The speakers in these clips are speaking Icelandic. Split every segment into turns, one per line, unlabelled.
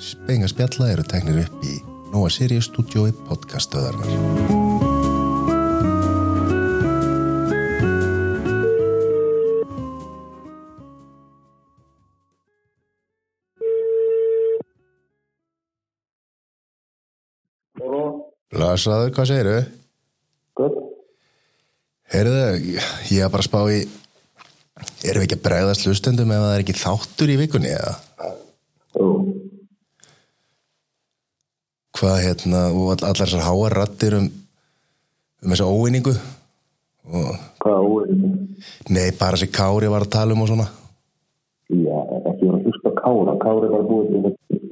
Spengar spjalla eru teknir upp í Nóa Sirius stúdjói podcastöðarnar. Blasaður, hvað segiru?
Góð.
Heyrðu, ég er bara að spá í Erum við ekki að bregðast hlustendum ef það er ekki þáttur í vikunni eða?
Jú.
Hvað hérna, og all- allar þessar háar rattir um, um þessa óvinningu og
Hvað er óeirinn?
nei, bara þessi Kári var að tala um og svona
Já, ekki vera að hlusta á Kára. Kára var búið til þetta.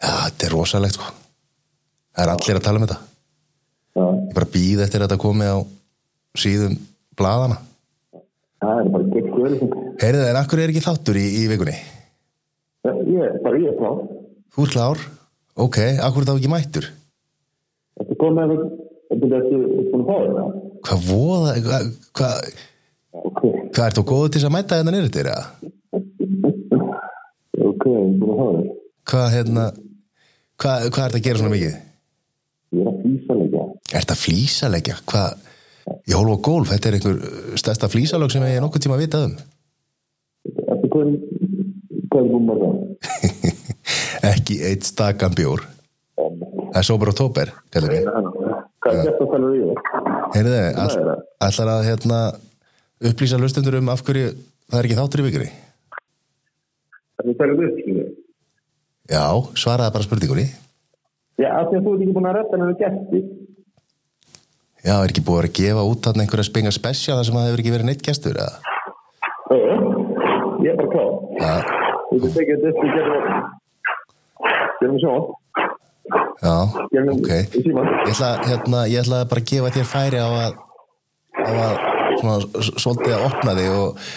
Já, þetta er rosalegt sko Það er allir að tala um þetta
Já,
Ég bara býð eftir að þetta komi á síðum bladana
það er bara gegn auðlýsing.
Heyrðu, en akkur er ekki þáttur í, í vikunni?
Ég er bara ég er frá.
Þú er klár? Ok, akkur er þá ekki mættur?
Þetta kom með að þetta er ekki búin að fá þetta.
Hvað voða, hvað, hvað,
Ok,
hvað ert þú góður til þess að mæta hérna nýrið þér eða?
ok, búin að fá þetta.
Hvað, hérna, hvað, hvað ert að gera svona mikið?
Ég er að fýsa líka.
Ert að flýsaleggja? Hvað, ég hólfa á gólf, þetta er einhver uh, stærsta flýsalög sem ég er nokkuð tíma að vita um.
Þetta kom, hvað er búin að fá þetta?
Ekki eitt stakan bjór. Það er sober oktober, kallar við.
Hvað er þetta að fæla við þetta?
Heyrðu,
er
all,
það.
allar að, hérna, upplýsa lustendur um af hverju það er ekki þáttur í vikri?
Þetta fæla við þetta.
Já, svaraði bara spurningunni.
Já, af því að þú ert ekki búin að rætta með gæsti.
Já, er ekki búið að vera að gefa út þarna einhverja spengar spesja þar sem það hefur ekki verið neitt gestur, eða?
Ég er bara klár.
Já,
Þú getur tekið þetta eftir gerðum gerðum sjá
já,
gerðum
ok.
í síma
Ég ætla, hérna, ég ætla bara að gefa þér færi á að, á að svona, s- svolítið að opna þig og,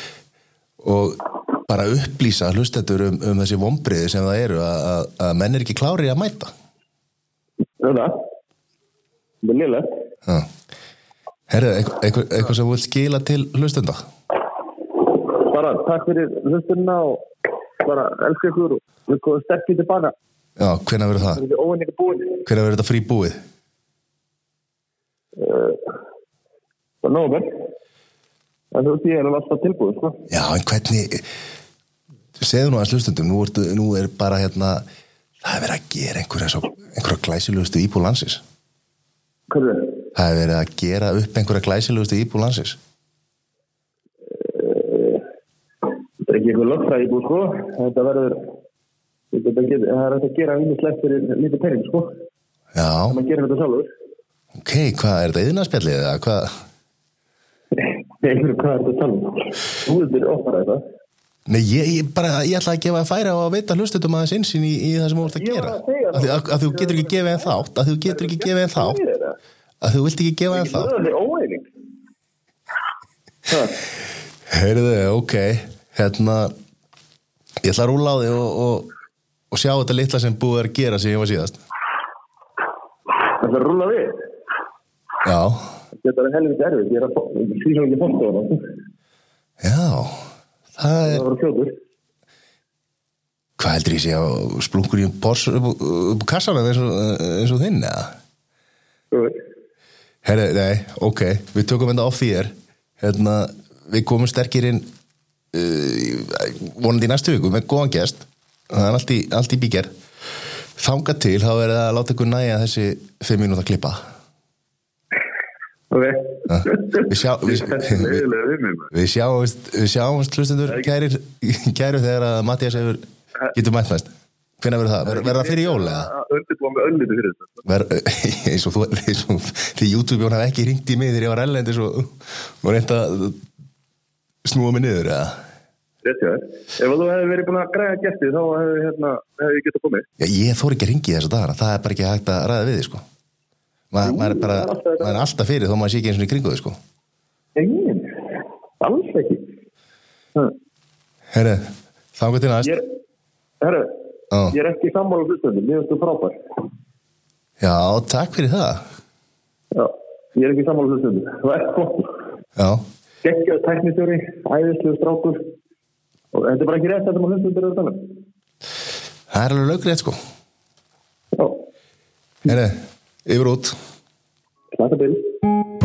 og bara upplýsa hlustendur um, um þessi vombriði sem það eru að, að, að menn er ekki klárir að mæta.
Þetta Þetta er liðlega
Já. Herðu, einhver, einhver, einhver sem þú vilt skila til hlustenda?
bara takk fyrir hlustunna og bara elsku ykkur og við komum sterkir tilbaka
Já, hvenær verður það?
þetta er óvinningu búin
Hvenær verður þetta frí búið?
og nómer en þú veist ég er alveg alltaf tilbúið sko.
Já, en hvernig segðu nú að slustundum, nú, ertu, nú er bara hérna, það er verið að gera einhverja, svo, einhverja glæsilegustu íbúl landsins
hverju
það er verið að gera upp einhverja glæsilegustu íbúl landsins
þetta er ekki eitthvað lögfræði búið sko þetta verður þetta er ekki- það er hægt að gera ímislegt fyrir lítið pening sko
Já,
maður gerir þetta sjálfur
ok, hvað er þetta yðnarspjallið eða hvað?
ég veit ekki hvað er þetta sjálfur þú veist þér ofar þetta
Nei, ég, ég bara, ég ætla að gefa að færa og að veita hlustundum aðeins einsinn í, í það sem þú ert að
Ég var
gera
að segja
að, að, að þú getur ekki gefið en þátt að þú getur ekki gefið en þátt
Hvað er þetta?
að þú vilt ekki gefa en þátt
Það er óeining.
Heyrðu, ok, hérna, ég ætla að rúla á þig og, og, og sjá þetta litla sem búið er að gera sem ég var síðast.
Það er rúla við.
Já,
Þetta er helviti erfið. Ég er að því sem ekki fórstu á það.
já, það er,
Það var fljótur.
hvað heldur ég sé að splungur í bors upp, upp kassanum eins og, eins og þinn, eða?
Þú veist.
Herðu, nei, ok, við tökum þetta off því er, hérna, við komum sterkir inn, uh, vonandi í næstu viku með góðan gest, það er allt í, allt í bíker. Þanga til, þá er það að láta ykkur næja þessi fimm mínúta klippa.
Ok.
Ah, Við, sjá, við,
Þetta er
við,
leiðilega við mig. maður.
Við sjáumst, við sjáumst hlustendur kæru, kæru þegar að Mattias hefur getur mætt næst. Hvenær verður það? Ver- Verður það fyrir jól eða?
Að Undirbúa með ölliti fyrir þetta. sko.
Ver, eins og þú, eins og því YouTube hún hafði ekki ringt í mig þegar ég var ellendis og, og reynda að snúa mig niður eða?
Rétt hjá þér. Ef þú hefði verið búin að græða gæsti þá hefði hérna, hef ég getað komið.
Já, ég þór ekki að ringi þess að dagana, það er bara ekki hægt að ræða við þig sko. Ma, maður, er bara, maður er alltaf fyrir þó maður sé ekki eins og í kringu þig sko.
Engin. Alls ekki. Ha.
Herre, þangu til næst.
Ég er, herru,
Já.
ég er ekki sammála hlustöndum. Mér finnst þú frábær.
Já, takk fyrir það.
Já. Ég er ekki sammála hlustöndum. Það er flott.
Já,
geggjöð teknistjóri, æðislu strákur og þetta er bara ekki rétt þetta maður hlustum byrjaði að tala um.
Það er alveg lögrið sko
Já,
Herre, yfir út
slaka til.